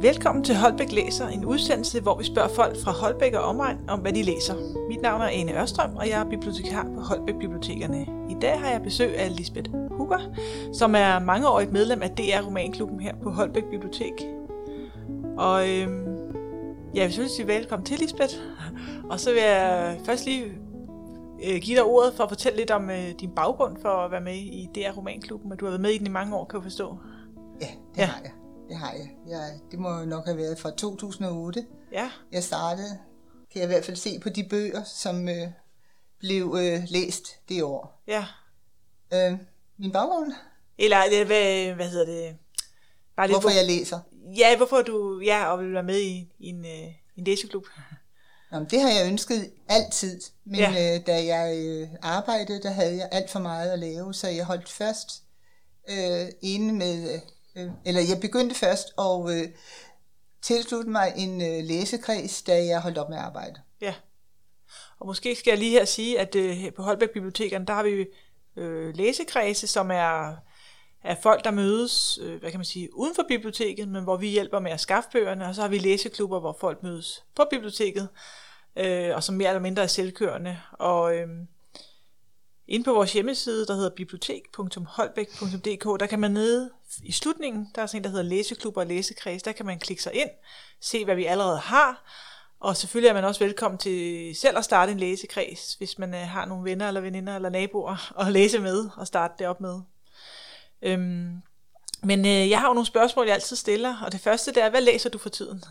Velkommen til Holbæk Læser, en udsendelse, hvor vi spørger folk fra Holbæk og omegn om, hvad de læser. Mit navn er Ane Ørstrøm, og jeg er bibliotekar på Holbæk Bibliotekerne. I dag har jeg besøg af Lisbeth Hugger, som er mangeårigt medlem af DR Romanklubben her på Holbæk Bibliotek. Og øhm, ja, jeg vil sige velkommen til, Lisbeth. Og så vil jeg først lige øh, give dig ordet for at fortælle lidt om øh, din baggrund for at være med i DR Romanklubben, og du har været med i den i mange år, kan jeg forstå. Ja, det Ja. ja. har jeg. Det har jeg. jeg. Det må jo nok have været fra 2008. Ja, Jeg startede, kan jeg i hvert fald se på de bøger, som øh, blev øh, læst det år. ja. Øh, min baggrund, Eller øh, hvad, hvad hedder det? Bare hvorfor jeg læser. Ja, hvorfor du ja, og vil være med i, i en, øh, en læseklub. Nå, men det har jeg ønsket altid, men Ja. ja. øh, da jeg øh, arbejdede, der havde jeg alt for meget at lave, så jeg holdt først øh, inde med, øh, eller jeg begyndte først at øh, tilslutte mig en øh, læsekreds, da jeg holdt op med at arbejde. Ja. Og måske skal jeg lige her sige, at øh, her på Holbæk Bibliotekerne, der har vi øh, læsekredse, som er, er folk, der mødes, øh, hvad kan man sige, uden for biblioteket, men hvor vi hjælper med at skaffe bøgerne, og så har vi læseklubber, hvor folk mødes på biblioteket, øh, og som mere eller mindre er selvkørende. Og øh, inde på vores hjemmeside, der hedder bibliotek.holbæk.dk, der kan man nede i slutningen, der er sådan en, der hedder læseklubber og læsekreds, der kan man klikke sig ind, se hvad vi allerede har, og selvfølgelig er man også velkommen til selv at starte en læsekreds, hvis man øh, har nogle venner eller veninder eller naboer at læse med og starte det op med. Øhm, men øh, jeg har jo nogle spørgsmål, jeg altid stiller, og det første det er, hvad læser du for tiden?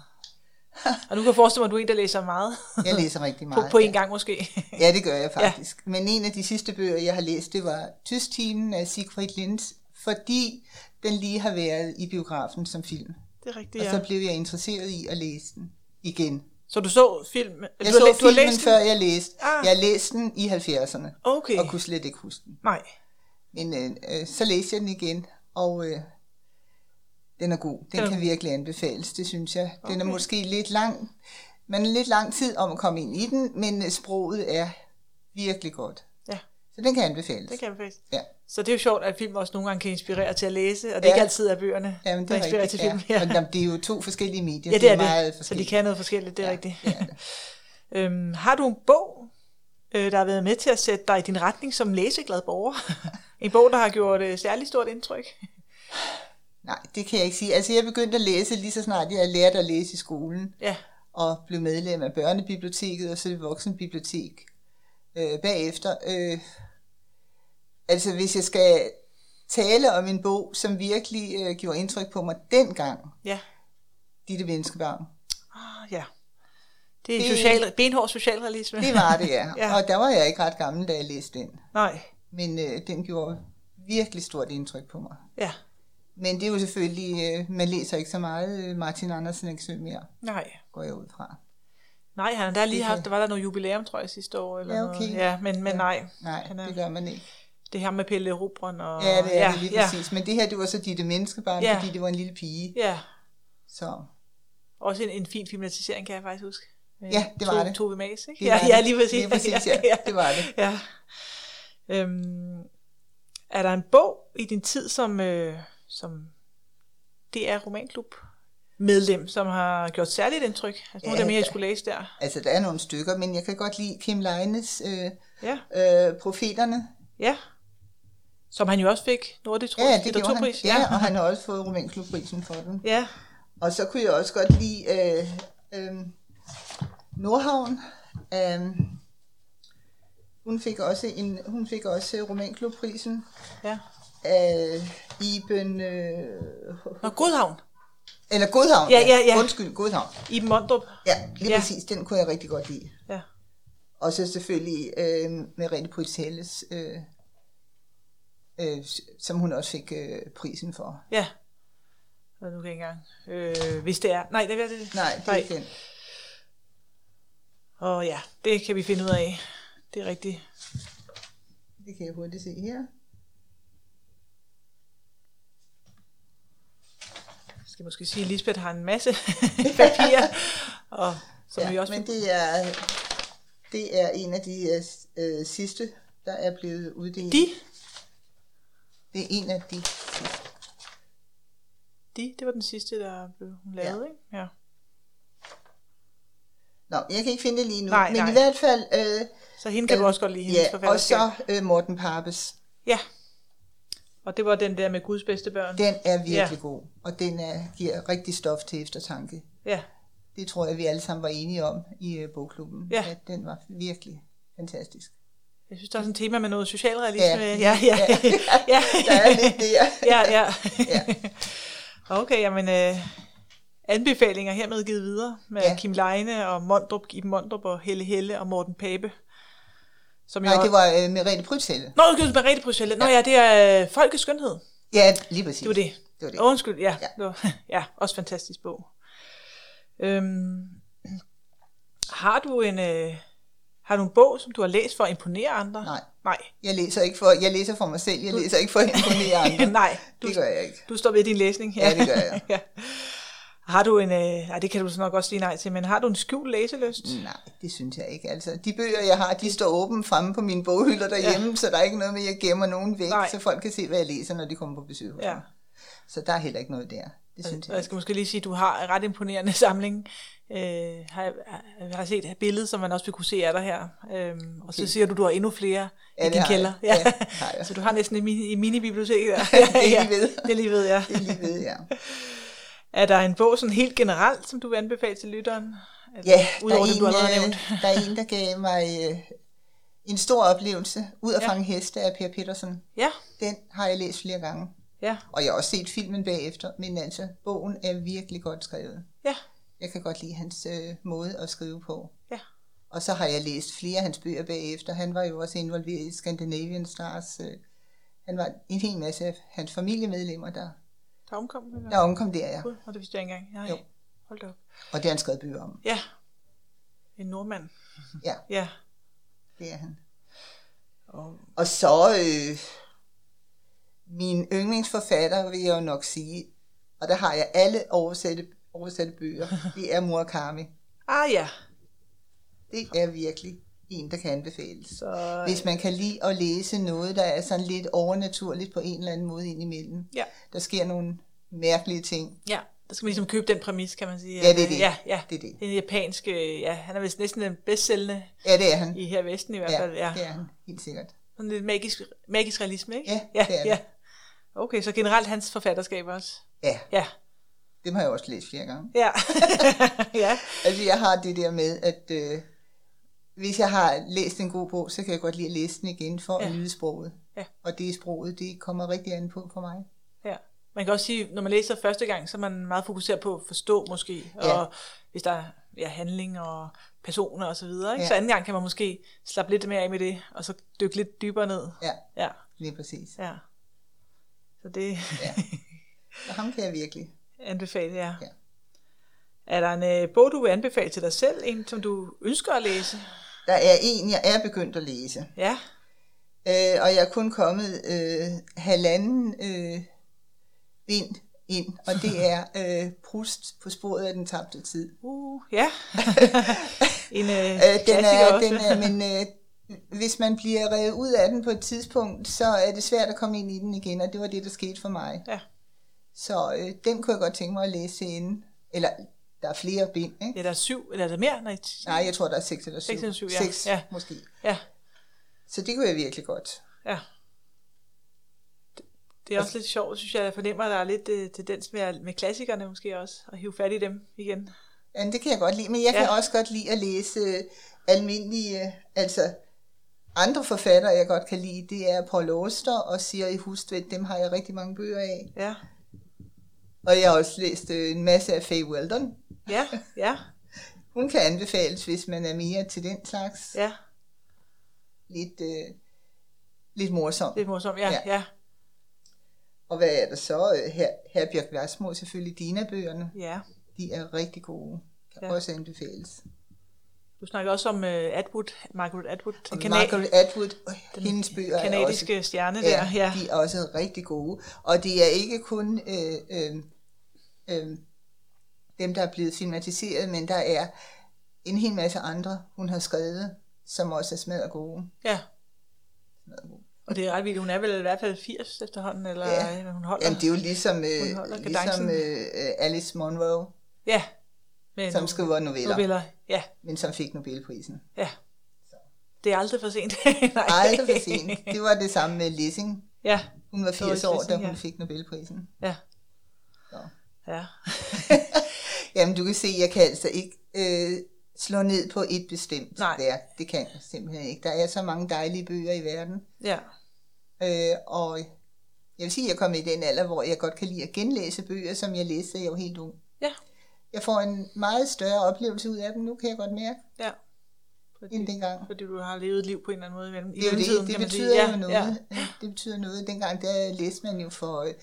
Og du kan forestille mig, at du er en, der læser meget. Jeg læser rigtig På, meget. på en gang måske. Ja, det gør jeg faktisk. Ja. Men en af de sidste bøger, jeg har læst, det var Tystimen af Siegfried Lenz, fordi den lige har været i biografen som film. Det er rigtigt, Ja. Og ja. så blev jeg interesseret i at læse den igen. Så du så film? Jeg du så læ- du filmen, læst den? før jeg læste. Ah. Ah. Jeg læste den i 70'erne, Okay. og kunne slet ikke huske den. Nej. Men øh, øh, så læste jeg den igen, og øh, den er god. Den er kan god. virkelig anbefales, det synes jeg. Den Okay. er måske lidt lang. Man er lidt lang tid om at komme ind i den, men øh, sproget er virkelig godt. Ja, Så den kan anbefales. det kan jeg faktisk. Ja, Så det er jo sjovt, at film også nogle gange kan inspirere til at læse, og det er Ja. ikke altid er bøgerne, ja men det der er inspirerer rigtigt. til film. Ja. Men jamen, det er jo to forskellige medier. Ja, det er meget det. Så de forskelligt. kan noget forskelligt, det er ja, Ja, rigtigt. det er øhm, har du en bog, øh, der har været med til at sætte dig i din retning som læseglad borger? en bog, der har gjort et særligt stort indtryk? Nej, det kan jeg ikke sige. Altså, jeg begyndte at læse lige så snart jeg lærte at læse i skolen, ja, og blev medlem af børnebiblioteket og så det voksenbibliotek øh, bagefter. Øh, altså, hvis jeg skal tale om en bog, som virkelig øh, gjorde indtryk på mig dengang, ja, Ditte Venskebørn, ah, ja. Det er en Det- social, benhård socialrealisme. det var det, ja. Ja. ja. Og der var jeg ikke ret gammel, da jeg læste den. Nej, Men øh, den gjorde virkelig stort indtryk på mig. ja, Men det er jo selvfølgelig, øh, man læser ikke så meget øh, Martin Andersen Nexø mere, nej. går jeg ud fra. Nej, han har da lige Det haft, kan- der var der noget jubilæum, tror jeg, sidste år. Eller Ja, okay. noget. ja men, men Ja. nej. Nej, Han er- det gør man ikke. Det her med Pelle Rubron og... Ja, det er ja, det lige præcis. Ja. Men det her, det var så dit menneskebarn, Ja. ja. fordi det var en lille pige. Ja, ja. Så Også en, en fin filmatisering, kan jeg faktisk huske. Med Ja, det var Tove- det. Tove Maes, ikke? Det Ja, var ja, det. lige præcis. Lige præcis, ja. Det var det. Ja. Øhm, er der en bog i din tid som, øh, som DR Romanklub medlem, som har gjort særligt indtryk? Altså nogle af Ja, dem, jeg der- skulle læse der. altså, der er nogle stykker, men jeg kan godt lide Kim Leines øh, Ja, øh, Profeterne. ja. Som han jo også fik Nordisk Råd Ja, det gjorde han. litteraturpris. Ja, og han har også fået Romanklubprisen for den. ja. Og så kunne jeg også godt lide øh, øh, Nordhavn. Øh, hun fik også en, hun fik også øh, Romanklubprisen. ja. Øh, Iben, øh, Nå, Godhavn. eller Godhavn. Ja, ja, ja. Undskyld, Godhavn. Iben Mondrup. Ja, lige Ja. ja. præcis. Den kunne jeg rigtig godt lide. Ja. Og så selvfølgelig øh, med Rene Poitelles, øh, øh, som hun også fik øh, prisen for. Ja. Hvad nu kan jeg ikke engang. Øh, hvis det er. Nej, det er det. Nej, det er ikke den. Og ja, det kan vi finde ud af. Det er rigtigt. Det kan jeg hurtigt se her. Jeg skal måske sige, at Lisbeth har en masse papirer. Og som ja, vi Ja, også... men det er, det er en af de øh, sidste, der er blevet uddelt. De, Det er en af de sidste. de Verdi, det var den sidste, der blev hun lavet, ja. ikke? Ja. Nå, jeg kan ikke finde det lige nu. Nej, men nej. i hvert fald, øh, Så hende kan du Øh, også godt lide, hendes ja, og forfatterskab. så øh, Morten Pappes. Ja. Og det var den der med Guds bedste børn. Den er virkelig ja. god, og den er, giver rigtig stof til eftertanke. Ja, Det tror jeg, vi alle sammen var enige om i øh, bogklubben, Ja. at den var virkelig fantastisk. jeg synes, der er sådan et tema med noget socialrealisme. Ja. ja, ja. ja. Der er lidt der. ja, ja. Ja. Okay, jamen, øh, anbefalinger hermed givet videre med Ja. ja. Kim Leine og Mondrup, Iben Mondrup og Helle Helle og Morten Pape. Som Nej, jeg det var øh, Merete Prytzelle. Nå, det var Merete Bruxelles. Nå ja, det er øh, Folkets Skønhed. Ja, lige præcis. Det var det. det, var det. Åh, Undskyld, ja. Ja. Ja, det var, ja også fantastisk bog. Øhm, har du en øh, har du en bog, som du har læst for at imponere andre? Nej, Nej. jeg læser, ikke for, jeg læser for mig selv, jeg læser ikke for at imponere andre. Nej, du, Det gør jeg ikke. du står ved din læsning. Ja, det gør jeg. ja. Har du en, øh, nej, det kan du så nok også sige nej til, men har du en skjult læseløst? Nej, det synes jeg ikke. Altså, de bøger, jeg har, de står åbne fremme på mine boghylder derhjemme, ja. så der er ikke noget med, at jeg gemmer nogen væk, Nej. Nej. så folk kan se, hvad jeg læser, når de kommer på besøg hos Ja. mig. Så der er heller ikke noget der. Det synes Og jeg jeg ikke. skal måske lige sige, at du har en ret imponerende samling. Øh, har, jeg- jeg har set et billede, som man også vil kunne se af dig her. Øhm, okay. Og så siger du, du har endnu flere ja, Ja, i det din har kælder. jeg. Ja, det har jeg. så du har næsten et mini, et mini-bibliotek der. er lige ved. Det er lige ved, ja. Det er lige ved, ja. Er der en bog sådan helt generelt, som du vil anbefale til lytteren? Altså, Ja, Udover det, du der, allerede har er en, nævnt. øh, der er en, der gav mig øh, en stor oplevelse, Ud at Ja. fange heste af Per Petersen. Ja, Den har jeg læst flere gange, ja, og jeg har også set filmen bagefter, men altså, bogen er virkelig godt skrevet. ja, Jeg kan godt lide hans øh, måde at skrive på. ja. Og så har jeg læst flere af hans bøger bagefter. Han var jo også involveret i Scandinavian Stars. øh. Han var en hel masse af hans familiemedlemmer, der, Der er omkommet. eller? der omkom der, ja. Gud, og det vidste jeg ikke engang. Nej, Jo. hold da op. Og det har han skrevet bøger om. Ja, en nordmand. Ja. Ja, Det er han. og Og så øh, min yndlingsforfatter, vil jeg jo nok sige, og der har jeg alle oversatte, oversatte bøger, det er Murakami. Ah ja, Det er virkelig en, der kan anbefales. så... Hvis man kan lide at læse noget, der er sådan lidt overnaturligt på en eller anden måde indimellem. Ja. Der sker nogle mærkelige ting. Ja, der skal man ligesom købe den præmis, kan man sige. Ja, det er det. Ja, ja. Det er det. Den japanske, øh, ja, han er vist næsten den bedst sælgende Ja, det er han. i her i Vesten i hvert Ja, fald. Ja, det er han, helt sikkert. Sådan lidt magisk, magisk realisme, ikke? Ja, ja, det er det. ja. Okay, så generelt hans forfatterskab også. Ja, Ja, det har jeg også læst flere gange. ja. ja, Altså, jeg har det der med, at øh, hvis jeg har læst en god bog, så kan jeg godt lide at læse den igen for ja. at Ja. nyde sproget. Ja. Og det sproget, det kommer rigtig an på for mig. ja. Man kan også sige, når man læser første gang, så er man meget fokuseret på at forstå måske, Ja. og hvis der er ja, handling og personer og så videre. Ikke? Ja. Så anden gang kan man måske slappe lidt mere af med det, og så dykke lidt dybere ned. Ja, Ja, lige præcis. ja. Så det... Ja. Så ham kan jeg virkelig. anbefale jer. Ja. Ja. Er der en øh, bog, du vil anbefale til dig selv? En, som du ønsker at læse? Der er en, jeg er begyndt at læse. Ja, Øh, og jeg er kun kommet øh, halvanden øh, vind ind, og det er øh, Proust på sporet af den tabte tid. uh, ja. en øh, Øh, den klassiker er, også. den er, men øh, hvis man bliver revet ud af den på et tidspunkt, så er det svært at komme ind i den igen, og det var det, der skete for mig. Ja. Så øh, den kunne jeg godt tænke mig at læse inden. Eller, der er flere bind, ikke? Ja, der er syv, eller er der mere? Nej, t- Nej, jeg tror, der er seks eller syv. Seks eller syv, ja. Seks, Ja. måske. ja, Så det kunne jeg virkelig godt. ja. Det- Det Altså- er også lidt sjovt, synes jeg. Jeg fornemmer, at der er lidt øh, tendens med, at- med klassikerne måske også, at hive fat i dem igen. Ja, det kan jeg godt lide, men jeg kan Ja. også godt lide at læse øh, almindelige, øh, altså andre forfattere, jeg godt kan lide, det er Paul Auster og Siri Hustvedt, dem har jeg rigtig mange bøger af. Ja, Og jeg har også læst øh, en masse af Faye Weldon. ja, ja, Hun kan anbefales, hvis man er mere til den slags. ja. Lidt, øh, lidt morsom. Det er morsomt, ja, Ja. ja. ja. Og hvad er der så? Øh, Her, her Bjørk Værsmo, selvfølgelig Dina-bøgerne. Ja, De er rigtig gode. Kan ja. Ja. også anbefales. du snakker også om uh, Atwood, Margaret Atwood, den, Og kana- Margaret Atwood, øh, den hendes bøger er også kanadiske stjerne der. Ja, Ja, de er også rigtig gode. Og det er ikke kun øh, øh, øh, dem, der er blevet filmatiseret, men der er en hel masse andre, hun har skrevet, som også er smadret gode. ja. Smadret gode. Og det er ret vildt. Hun er vel i hvert fald 80 efterhånden, eller Ja. ja. hun holder. Jamen, det er jo ligesom, øh, Hun holder kadencen. ligesom øh, Alice Monroe, Ja. Men som skriver noveller, noveller. Ja, men som fik Nobelprisen. ja. Det er aldrig for sent. Nej. Aldrig for sent. Det var det samme med Lissing. Ja, Hun var 80 år, da Lissing, hun ja. fik Nobelprisen. ja, Så. ja. Jamen, du kan se, jeg kan altså ikke øh, slå ned på et bestemt Nej. værk. Det kan jeg simpelthen ikke. Der er så mange dejlige bøger i verden. Ja, Øh, og jeg vil sige, at jeg er kommet i den alder, hvor jeg godt kan lide at genlæse bøger, som jeg læste, da jeg var helt ung. ja, Jeg får en meget større oplevelse ud af dem nu, kan jeg godt mærke, ja. Fordi, end dengang. fordi du har levet et liv på en eller anden måde i mellem. Det, er jo det, det betyder jo noget. Ja. Det betyder noget. Dengang der læste man jo for øh,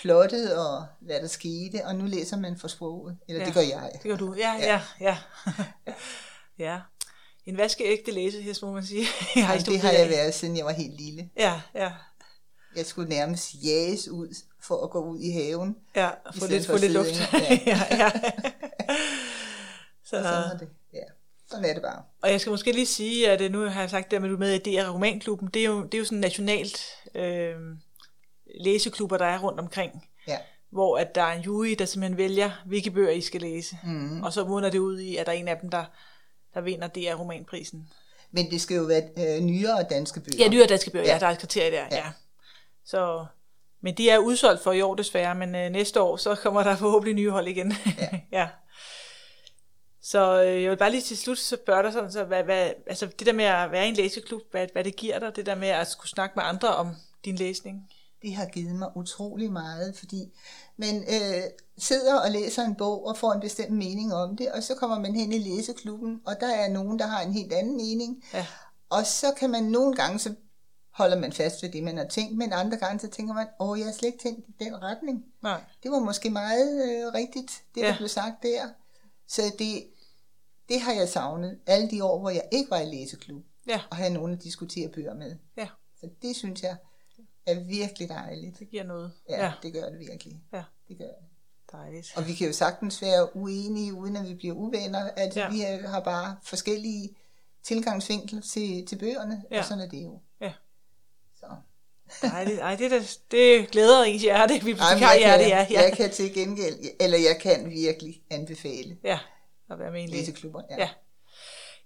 plottet og hvad der skete, og nu læser man for sproget. Eller ja. Ja. det gør jeg. Det gør du. Ja, ja, ja. ja. En vaskeægte læsehest, må man sige. Jeg Ej, det har jeg været, siden jeg var helt lille. Ja, ja. Jeg skulle nærmest jages ud for at gå ud i haven. Ja, få I stedet lidt, for få at lidt sidde luft. inde. ja, ja. Og sådan, er Så, det. Ja. sådan er det bare. og jeg skal måske lige sige, at øh, nu har jeg sagt det, med, at du er med i DR Romanklubben. Det er jo, det er jo sådan nationalt øh, læseklubber, der er rundt omkring. Ja. hvor at der er en jury, der simpelthen vælger, hvilke bøger I skal læse. Mm. Og så munder det ud i, at der er en af dem, der, der vinder DR Romanprisen. Men det skal jo være øh, nyere danske bøger. Ja, dyre danske bøger, ja. Ja. der er et kriterie der, ja. Ja. ja. Så, men de er udsolgt for i år desværre, men øh, næste år, så kommer der forhåbentlig nye hold igen. Ja. ja. Så øh, jeg vil bare lige til slut så spørge dig sådan, så hvad, hvad, altså det der med at være i en læseklub, hvad, hvad det giver dig, det der med at skulle snakke med andre om din læsning. Det har givet mig utrolig meget, fordi man øh, sidder og læser en bog og får en bestemt mening om det, og så kommer man hen i læseklubben, og der er nogen, der har en helt anden mening. Ja. Og så kan man nogle gange, så holder man fast ved det, man har tænkt, men andre gange, så tænker man, åh, jeg har slet ikke tænkt i den retning. Nej. Det var måske meget øh, rigtigt, det der Ja. blev sagt der. Så det, det har jeg savnet alle de år, hvor jeg ikke var i læseklub, Ja, og havde nogen at diskutere bøger med. ja, Så det synes jeg er virkelig dejligt. det giver noget. Ja, ja. ja. det gør det virkelig. ja. Det gør det. dejligt. Og vi kan jo sagtens være uenige, uden at vi bliver uvenner. Altså, Ja. ja. vi er- har bare forskellige tilgangsvinkler til, til bøgerne, Ja. ja. og sådan er det jo. Ja. Så. Ej, det, ej, det, det, det glæder ens hjerte, at vi Ej, men har hjerte, kan, ja. jeg Ja, kan til gengæld, eller jeg kan virkelig anbefale ja at være med i en læse. læseklubber. Ja.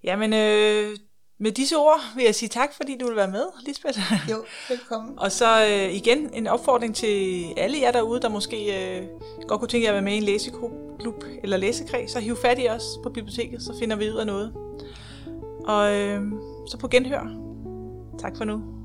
Jamen, øh, med disse ord vil jeg sige tak, fordi du vil være med, Lisbeth. Jo, velkommen. Og så øh, igen en opfordring til alle jer derude, der måske øh, godt kunne tænke jer at være med i en læseklub eller læsekreds, så hiv fat i os på biblioteket, så finder vi ud af noget. Og øh, så på genhør. Tak for nu.